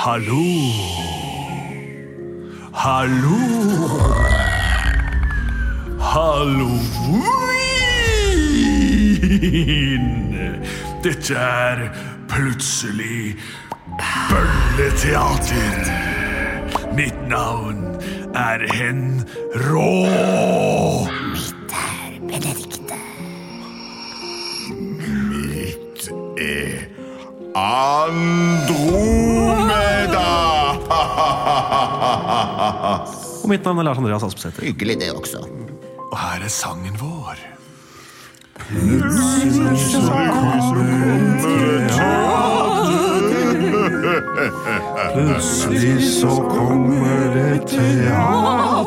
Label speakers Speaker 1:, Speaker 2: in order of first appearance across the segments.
Speaker 1: Hallo. Hallo. Halloween. Dette er plutselig bølleteater. Mitt navn er Hen Rå.
Speaker 2: Benedikte.
Speaker 3: Mitt er Andromeda!
Speaker 4: Og mitt navn er Lars Andreas Aspesæter.
Speaker 2: Hyggelig det også.
Speaker 1: Og her er sangen vår.
Speaker 4: Plutselig så kommer det teater.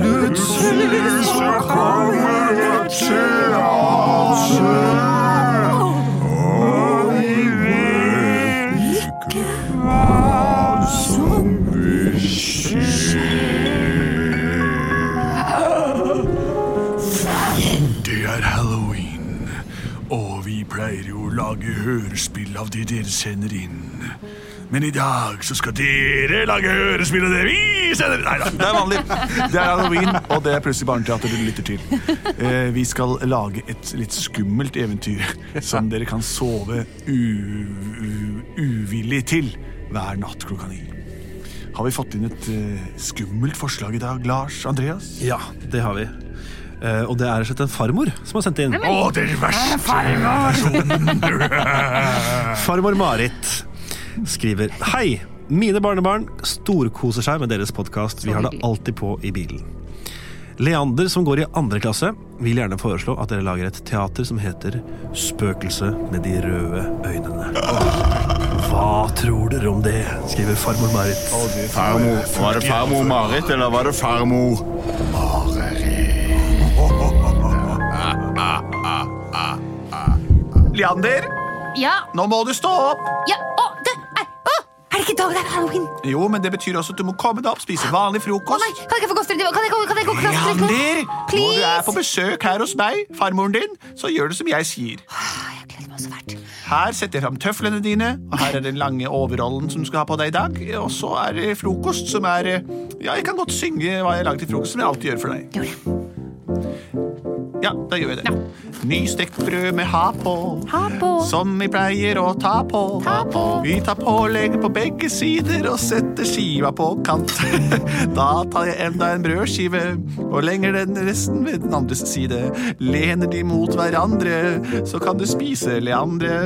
Speaker 4: Plutselig så kommer det teater. Og vi vet ikke hva som vil skje.
Speaker 1: Det er halloween, og vi pleier jo å lage hørespill av det dere sender inn. Men i dag så skal dere lage hørespill av det vi sender Nei da, det er vanlig. Det er halloween, og det er plutselig barneteater du lytter til. Eh, vi skal lage et litt skummelt eventyr som dere kan sove u u uvillig til hver natt klokka ni. Har vi fått inn et eh, skummelt forslag i dag, Lars Andreas?
Speaker 4: Ja, det har vi. Eh, Og det er rett og slett en farmor som har sendt inn.
Speaker 1: Å, det er verst!
Speaker 4: Farmor Marit skriver Hei, mine barnebarn storkoser seg med deres podkast. Vi har det alltid på i bilen. Leander, som går i andre klasse, vil gjerne foreslå at dere lager et teater som heter Spøkelset med de røde øynene. Hva tror dere om det? skriver farmor Marit.
Speaker 3: Farmor. Var det farmor Marit, eller var det farmor
Speaker 1: Leander,
Speaker 5: Ja,
Speaker 1: nå må du stå opp!
Speaker 5: ja, å, det er, å, er det ikke i dag det er halloween? Å
Speaker 1: Jo, men det betyr også at du må komme deg opp, spise vanlig frokost.
Speaker 5: nei, kan jeg ikke få gå strøm? Kan jeg, gå- kan jeg gå klatre litt nå?
Speaker 1: Leander, når du er på
Speaker 5: Please!
Speaker 1: besøk her hos meg, farmoren din, så gjør du som jeg sier.
Speaker 5: Ah, Jeg gleder meg så fælt.
Speaker 1: Her setter jeg fram tøflene dine, og her er den lange overrollen som du skal ha på deg i dag. Og så er det frokost som er eh, Ja, jeg kan godt synge hva jeg lager til frokost, som jeg alltid gjør for deg.
Speaker 5: Gjør det.
Speaker 1: Ja, da gjør vi det. Nystekt brød med ha på.
Speaker 5: Ha på.
Speaker 1: Som vi pleier å ta på.
Speaker 5: Ta på.
Speaker 1: Vi tar pålegg på begge sider og setter skiva på kant. da tar jeg enda en brødskive og lenger den resten ved den andres side. Lener de mot hverandre, så kan du spise, Leandre.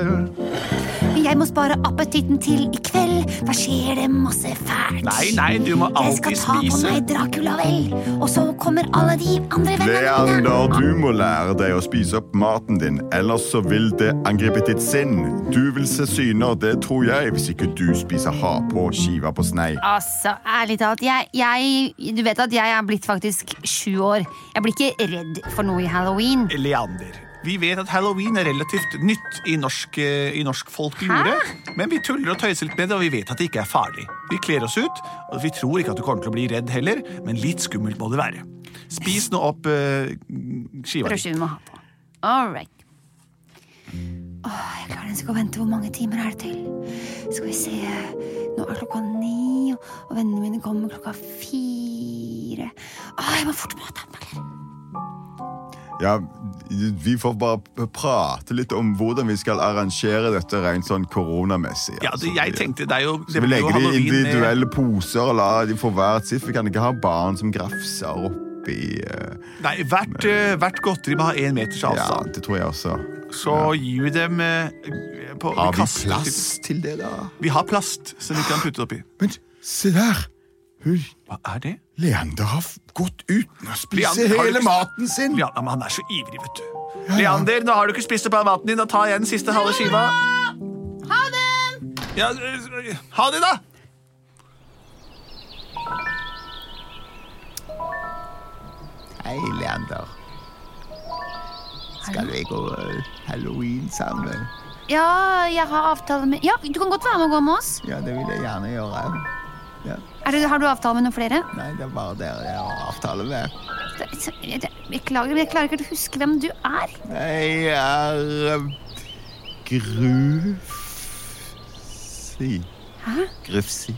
Speaker 5: Men Jeg må spare appetitten til i kveld. Da skjer det masse fælt.
Speaker 1: Nei, nei, du må
Speaker 5: Jeg skal
Speaker 1: alltid
Speaker 5: ta på
Speaker 1: spise.
Speaker 5: meg Dracula, vel. Og så kommer alle de andre vennene mine.
Speaker 3: Leander, du må lære deg å spise opp maten din, ellers så vil det angripe ditt sinn. Du vil se syner, det tror jeg, hvis ikke du spiser ha på skiva på snei.
Speaker 5: Altså, ærlig talt, jeg, jeg, du vet at jeg er blitt faktisk sju år. Jeg blir ikke redd for noe i halloween.
Speaker 1: Leander. Vi vet at halloween er relativt nytt i norsk, eh, i norsk folklore. Men vi tuller og tøyser litt med det, og vi vet at det ikke er farlig. Vi kler oss ut, og vi tror ikke at du kommer til å bli redd heller, men litt skummelt må det være. Spis nå opp eh, skiva di.
Speaker 5: Brødskive vi må ha på. All right. Åh, jeg klarer nesten ikke å vente. Hvor mange timer er det til? Skal vi se Nå er klokka ni, og- og vennene mine kommer klokka fire. Åh, jeg må fort på tannpiller.
Speaker 3: Ja, vi får bare prate litt om hvordan vi skal arrangere dette rent sånn koronamessig.
Speaker 1: Ja, det, jeg tenkte det er jo det
Speaker 3: Så vi
Speaker 1: blir jo
Speaker 3: legger de i
Speaker 1: halloween eh. med-
Speaker 3: individuelle poser og lar de få hvert sitt. Vi kan ikke ha barn som grafser oppi eh,
Speaker 1: Nei, hvert, eh, hvert godteri må ha én meters
Speaker 3: Ja,
Speaker 1: avstand.
Speaker 3: det tror jeg også.
Speaker 1: Så gir vi dem eh, på
Speaker 3: Har vi
Speaker 1: kaster-
Speaker 3: plass til det, da?
Speaker 1: Vi har plast som vi kan putte oppi.
Speaker 3: Men se der! Hun
Speaker 1: Hva er det?
Speaker 3: Leander har f- gått uten å spise
Speaker 1: Leander, har du
Speaker 3: hele
Speaker 1: ikke-
Speaker 3: maten sin!
Speaker 1: Leander, men han er så ivrig, vet du. Leander, nå har du ikke spist opp all maten din. Da tar jeg den siste halve skiva. Ja, eh, ha det, da!
Speaker 6: Hei, Leander. Skal vi gå eh, halloween sammen?
Speaker 5: Ja, jeg har avtale med Ja, du kan godt være med og gå med oss.
Speaker 6: Ja, det vil jeg gjerne gjøre. Ja.
Speaker 5: Er det, har du avtale med noen flere?
Speaker 6: Nei, det er bare dere jeg har avtale med.
Speaker 5: Det- det- det- Beklager, men jeg klarer ikke å huske hvem du er.
Speaker 6: Jeg er eh, Grufsi.
Speaker 5: Hæ?
Speaker 6: Grufsi.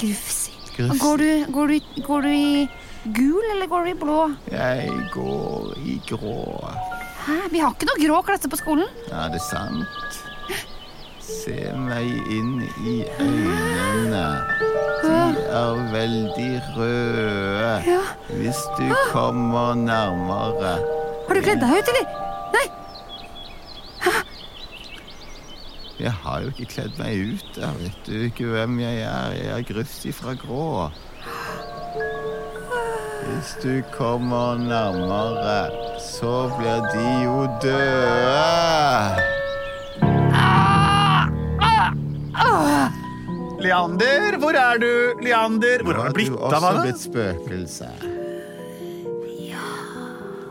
Speaker 5: Grufsi.
Speaker 6: Grufsi.
Speaker 5: Går du, går, du, i- går du i gul, eller går du i blå?
Speaker 6: Jeg går i grå.
Speaker 5: Hæ? Vi har ikke noe grå klasse på skolen.
Speaker 6: Er det sant? Se meg inn i øynene. De er veldig røde.
Speaker 5: Ja.
Speaker 6: Hvis du kommer nærmere
Speaker 5: Har du kledd deg ut, eller? Nei,
Speaker 6: Jeg har jo ikke kledd meg ut. Da. Vet du ikke hvem jeg er? Jeg er Grufsi fra Grå. Hvis du kommer nærmere, så blir de jo døde.
Speaker 1: Leander, hvor er du? Leander, hvor har du blitt
Speaker 6: Nå har
Speaker 1: av?
Speaker 6: du også
Speaker 1: henne?
Speaker 6: blitt spøkelse.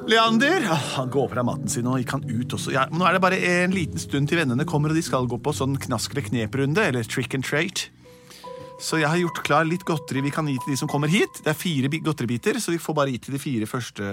Speaker 1: Leander! Ah, Han går fra maten sin og gikk han ut også. Ja, men nå er det bare en liten stund til vennene kommer, og de skal gå på sånn knask eller knep-runde, eller trick and treat. Så jeg har gjort klar litt godteri vi kan gi til de som kommer hit. Det er fire bi- godteribiter, så vi får bare gi til de fire første.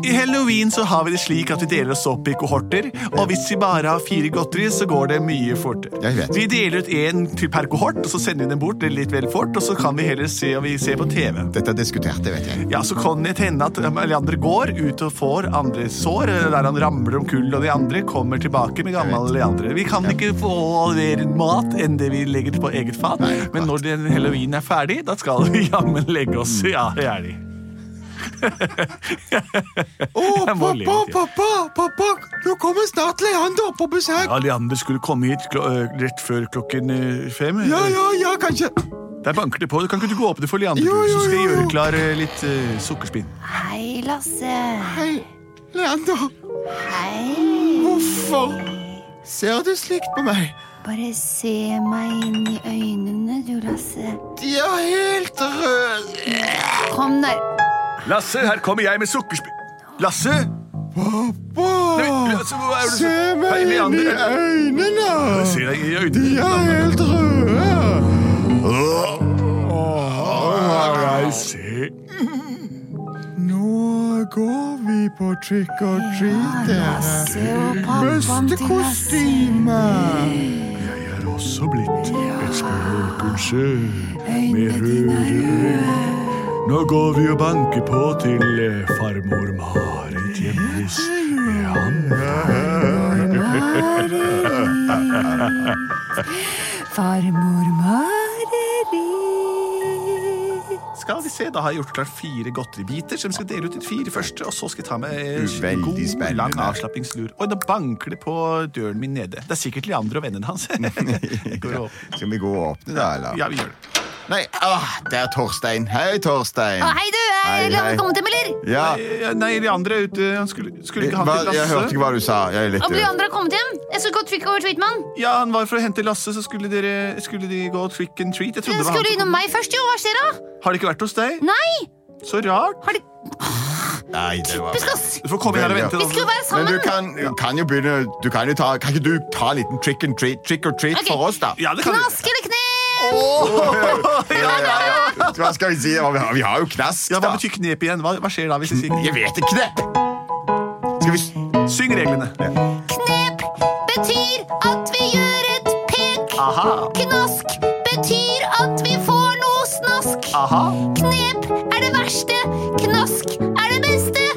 Speaker 1: I halloween så har vi det slik at vi deler oss opp i kohorter, og hvis vi bare har fire godteri, så går det mye fortere.
Speaker 6: Jeg vet.
Speaker 1: Vi deler ut én til per kohort, og så sender vi den bort det er litt vel fort, og så kan vi heller se om vi ser på TV.
Speaker 6: Dette er diskutert, det vet jeg.
Speaker 1: Ja, så kan det hende at Leander går ut og får andre sår, eller der han ramler om kull, og de andre kommer tilbake med gammel Leander. Vi kan ikke få mer mat enn det vi legger på eget fat, men når den halloween er ferdig, da skal vi jammen legge oss. Ja, det er de.
Speaker 6: Å,
Speaker 1: Jeg må le litt, ja.
Speaker 6: pappa, pappa, pappa! Nå kommer snart Leander på besøk!
Speaker 1: Ja, Leander skulle komme hit klo- øh, rett før klokken øh, fem.
Speaker 6: Ja, ja, ja, kanskje.
Speaker 1: Der banker det på. Kan ikke du gå opp det for Leander,
Speaker 6: Jo,
Speaker 1: du,
Speaker 6: jo,
Speaker 1: så skal jeg
Speaker 6: jo, jo.
Speaker 1: gjøre klar øh, litt øh, sukkerspinn?
Speaker 2: Hei, Lasse.
Speaker 6: Hei, Leander.
Speaker 2: Hei.
Speaker 6: Hvorfor ser du slikt på meg?
Speaker 2: Bare se meg inn i øynene, du, Lasse.
Speaker 6: De er helt røde.
Speaker 2: Kom der.
Speaker 1: Lasse, her kommer jeg med sukkerspinn. Lasse?
Speaker 6: Pappa,
Speaker 1: Lasse, hva altså, er det
Speaker 6: se
Speaker 1: som- Hei,
Speaker 6: meg inn i
Speaker 1: Leander, er-
Speaker 6: øynene.
Speaker 1: Jeg ser deg i
Speaker 6: De
Speaker 1: øynene.
Speaker 6: er helt røde.
Speaker 1: Jeg ser
Speaker 6: Nå går vi på trick or treat. dere.
Speaker 2: Se og pappaen
Speaker 6: Beste
Speaker 2: til Lasse.
Speaker 6: kostyme.
Speaker 1: Jeg er også blitt et spøkelse med
Speaker 2: Øynene
Speaker 1: røde øyne. Nå går vi og banker på til eh, farmor Marit hjemme hos Leander.
Speaker 2: Farmor Marit.
Speaker 1: Skal vi se, da har jeg gjort klart fire godteribiter som skal dele ut til fire første, og så skal jeg ta med eh, en
Speaker 3: Veldig
Speaker 1: god,
Speaker 3: spennende.
Speaker 1: lang avslappingslur. Oi, nå banker det på døren min nede. Det er sikkert Leander og vennene hans. Jeg går og åpner.
Speaker 3: Skal vi gå og åpne, da? eller?
Speaker 1: Ja, vi gjør det.
Speaker 6: Nei, ah, det er Torstein. Hei, Torstein.
Speaker 5: Å, hei du!
Speaker 6: Hei,
Speaker 5: Hei,
Speaker 6: hei.
Speaker 5: hei. Kom til, eller?
Speaker 6: Ja,
Speaker 1: Eh, Nei, Leander er ute. Han skulle, skulle ikke han
Speaker 6: hva,
Speaker 1: til
Speaker 6: jeg
Speaker 1: Lasse?
Speaker 6: hørte ikke hva du sa. Jeg er litt eh,
Speaker 5: Om de
Speaker 6: død.
Speaker 5: andre har kommet hjem? Jeg skulle gå trick or treat, mann.
Speaker 1: Ja, han var for å hente Lasse, så skulle, dere, skulle de gå trick and treat. Jeg trodde
Speaker 5: Den
Speaker 1: det var han
Speaker 5: skulle
Speaker 1: som
Speaker 5: innom
Speaker 1: kom.
Speaker 5: meg først, jo. Hva skjer da?
Speaker 1: Har de ikke vært hos deg?
Speaker 5: Nei!
Speaker 1: Så rart.
Speaker 5: Har de
Speaker 6: Nei, det var...
Speaker 5: Husk oss!
Speaker 1: Du får komme her og vente.
Speaker 5: Vi skulle jo være sammen.
Speaker 6: Men du kan, kan jo begynne du kan, jo ta, kan ikke du ta en liten trick, and treat, trick or treat
Speaker 5: Ok.
Speaker 6: for oss, da?
Speaker 1: Ja, det kan du.
Speaker 5: Knask eller knep?
Speaker 6: Ja, ja, ja. Hva skal vi si? Vi har, vi har jo knask,
Speaker 1: Ja, hva
Speaker 6: da.
Speaker 1: betyr knep igjen? Hva, hva skjer da hvis jeg sier
Speaker 6: Jeg vet ikke det. Skal vi s-
Speaker 1: Syng reglene.
Speaker 5: Knep betyr at vi gjør et pek.
Speaker 1: Aha,
Speaker 5: Knask betyr at vi får noe snask.
Speaker 1: aha.
Speaker 5: Knep er det verste, knask er det beste.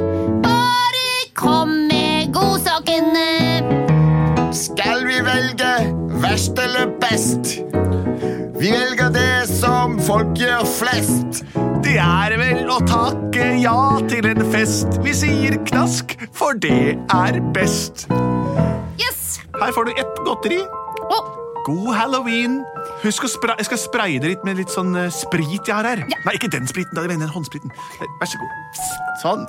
Speaker 5: Bare kom med godsakene.
Speaker 6: Skal vi velge verst eller best? Vi velger det som folk gjør flest.
Speaker 1: Det er vel å takke ja til en fest. Vi sier knask, for det er best.
Speaker 5: Yes!
Speaker 1: Her får du ett godteri.
Speaker 5: Å,
Speaker 1: God halloween. Husk å spra jeg skal spraye det litt med litt sånn eh, sprit jeg har her. Nei, ikke den spriten. da, jeg mener håndspriten. Eh, Vær så god. Sånn.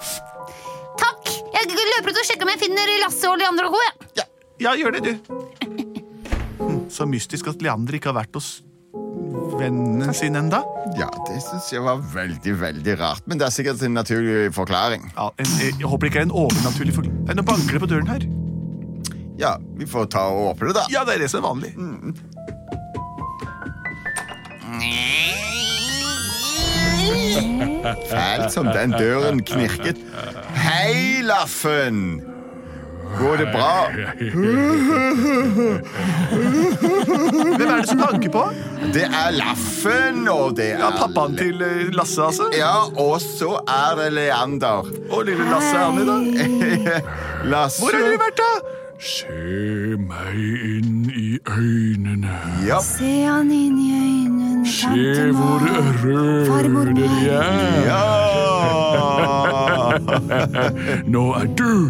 Speaker 5: takk! Jeg løper ut og sjekker om jeg finner Lasse og de andre og co. jeg.
Speaker 1: Ja, gjør det, du. Hm, så mystisk at Leander ikke har vært hos vennene sine enda.
Speaker 6: Ja, det syns jeg var veldig, veldig rart. Men det er sikkert en naturlig forklaring.
Speaker 1: Ja, en, eh, jeg, jeg håper det ikke er en overnaturlig forklaring. Nei, Nå banker det på døren her.
Speaker 6: Ja, vi får ta og åpne det, da.
Speaker 1: Ja, det er det som er vanlig.
Speaker 6: Fælt som den døren knirket. Hei, Laffen! Går det bra?
Speaker 1: Hvem er det som banker på?
Speaker 6: Det er Laffen, og det er
Speaker 1: Ja, Pappaen til eh, Lasse, altså.
Speaker 6: Ja, og så er det Leander.
Speaker 1: Og lille Lasse er han i dag.
Speaker 6: Lasse
Speaker 1: Hvor har dere vært, da?
Speaker 7: Se meg inn i øynene.
Speaker 6: Ja,
Speaker 5: Se han inn i øynene,
Speaker 7: Se
Speaker 5: tante
Speaker 7: hvor
Speaker 5: Maud. Farmor
Speaker 7: røde de er.
Speaker 6: ja.
Speaker 7: Nå er du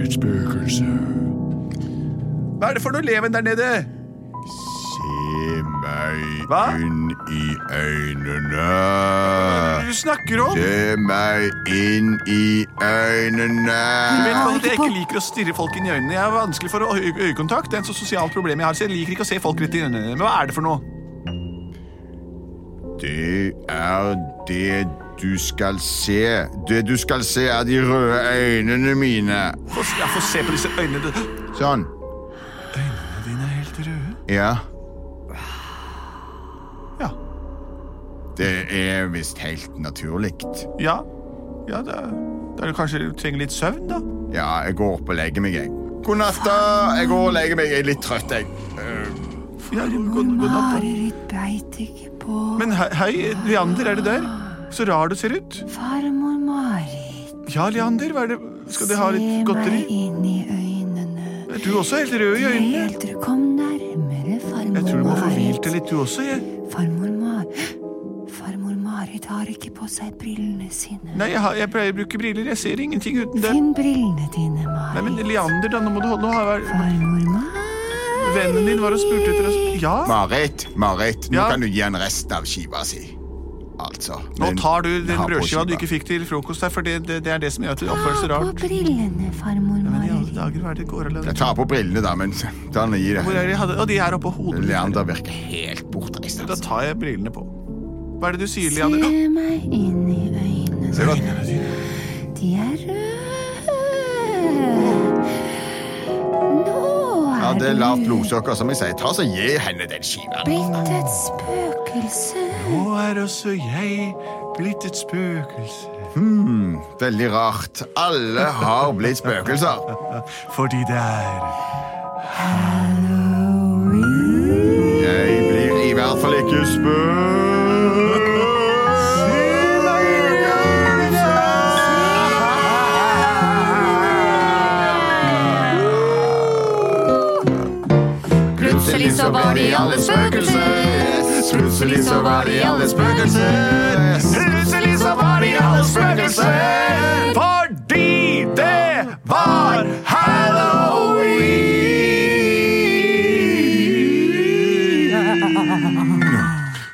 Speaker 7: et spøkelse.
Speaker 1: Hva er det for noe leven der nede?
Speaker 6: Se meg
Speaker 1: Hva?
Speaker 6: inn i øynene.
Speaker 1: Du snakker om?
Speaker 6: Se meg inn i
Speaker 1: Du vet
Speaker 6: øynene.
Speaker 1: hva, at Jeg ikke liker å stirre folk inn i øynene. Jeg har vanskelig for å ha øy- øyekontakt. Det er en så sosialt problem jeg har, så jeg liker ikke å se folk rett i øynene. Men hva er det for noe?
Speaker 6: Det er det du skal se. Det du skal se, er de røde øynene mine.
Speaker 1: Få, s- ja, få se på disse øynene. Øynene
Speaker 6: Sånn.
Speaker 1: dine er helt røde.
Speaker 6: Ja.
Speaker 1: Ja.
Speaker 6: Det er visst helt naturlig.
Speaker 1: Ja, ja da, da er det kanskje du trenger litt søvn, da.
Speaker 6: Ja, jeg går opp og legger meg, jeg. God natt, da. Jeg går og legger meg. Jeg er litt trøtt, jeg. Eh,
Speaker 1: Ja, god, god natt. da.
Speaker 5: Mareritt beit ikke på.
Speaker 1: Men hei, hei, Leander, er det der? Så rar du ser ut.
Speaker 5: Farmor Marit,
Speaker 1: Ja, Leander, hva er det? skal du ha litt
Speaker 5: se
Speaker 1: godteri?
Speaker 5: meg inn i øynene.
Speaker 1: Er du også helt rød i øynene?
Speaker 5: Helt til du kom nærmere, farmor
Speaker 1: Jeg tror du må få hvilt
Speaker 5: Marit.
Speaker 1: deg litt, du også. Jeg.
Speaker 5: Farmor Marit. Farmor Marit har ikke på seg brillene sine.
Speaker 1: Nei, jeg, har, jeg pleier å bruke briller. Jeg ser ingenting uten det.
Speaker 5: Finn brillene dine,
Speaker 1: Nei, men
Speaker 5: Marit.
Speaker 1: Leander, da, nå må du holde nå har jeg-
Speaker 5: Farmor Marit.
Speaker 1: Vennen din var og spurte etter oss. Ja,
Speaker 6: Marit, Marit, nå
Speaker 1: Ja?
Speaker 6: kan du gi han resten av skiva si. Altså.
Speaker 1: nå
Speaker 6: den-
Speaker 1: tar du den
Speaker 6: ha på
Speaker 1: brødskiva du
Speaker 6: skiva.
Speaker 1: ikke fikk til frokost her, for det, det, det er det som gjør at det
Speaker 5: Ta
Speaker 1: oppføres
Speaker 5: på
Speaker 1: rart.
Speaker 5: brillene, farmor
Speaker 1: Men i alle
Speaker 5: Marit.
Speaker 1: dager, hva er det går
Speaker 6: Jeg
Speaker 1: av?
Speaker 6: tar på brillene, da, men ta den og gi
Speaker 1: Hvor
Speaker 6: det.
Speaker 1: er de? Hadde- Å, de er oppå hodet.
Speaker 6: Leander virker helt bortreist.
Speaker 1: Da
Speaker 6: Altså.
Speaker 1: tar jeg brillene på. Hva er det du sier,
Speaker 5: Se
Speaker 1: Leander? Å,
Speaker 5: meg inn i øynene.
Speaker 6: Ser du at-
Speaker 5: De er røde. Nå
Speaker 6: Ja,
Speaker 5: er
Speaker 6: det er lavt
Speaker 5: du
Speaker 6: blodsukker, som jeg sier. Ta så Gi henne den skiva.
Speaker 5: blitt et spøkelse.
Speaker 1: Nå er også jeg blitt et spøkelse.
Speaker 6: Veldig rart. Alle har blitt spøkelser.
Speaker 1: Fordi det er
Speaker 6: Jeg blir i hvert fall ikke Plutselig så var de alle spøkelser. Plutselig så var de alle spøkelser. Plutselig så var de alle spøkelser.
Speaker 1: Fordi det var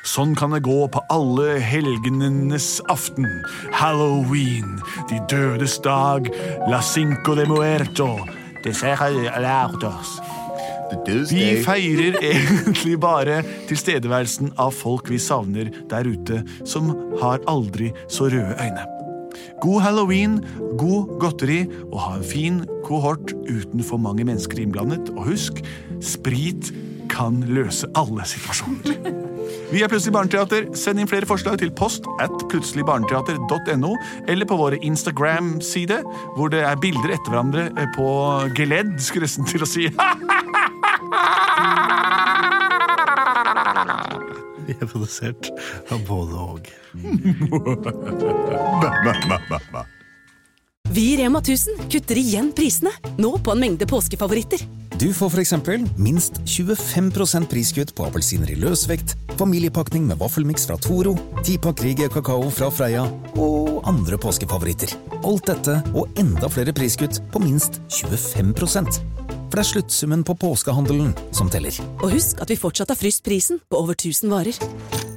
Speaker 1: Sånn kan det gå på alle helgenenes aften. Halloween, de dødes dag, la cinco de muerto. Det ser jeg lært oss. Vi feirer egentlig bare tilstedeværelsen av folk vi savner der ute, som har aldri så røde øyne. God halloween, god godteri, og ha en fin kohort uten for mange mennesker innblandet. Og husk, sprit kan løse alle situasjoner. Vi er Plutselig barneteater. Send inn flere forslag til post at plutseligbarneteater.no, eller på våre Instagram-side, hvor det er bilder etter hverandre eh, på geledd, skulle jeg nesten til å si.
Speaker 4: Vi er produsert av både og.
Speaker 8: Vi i Rema 1000 kutter igjen prisene, nå på en mengde påskefavoritter.
Speaker 9: Du får f.eks. minst 25 priskutt på appelsiner i løsvekt, familiepakning med vaffelmiks fra Toro, tipakk Rieger kakao fra Freia og andre påskefavoritter. Alt dette og enda flere priskutt på minst 25 For det er sluttsummen på påskehandelen som teller.
Speaker 8: Og husk at vi fortsatt har fryst prisen på over 1000 varer.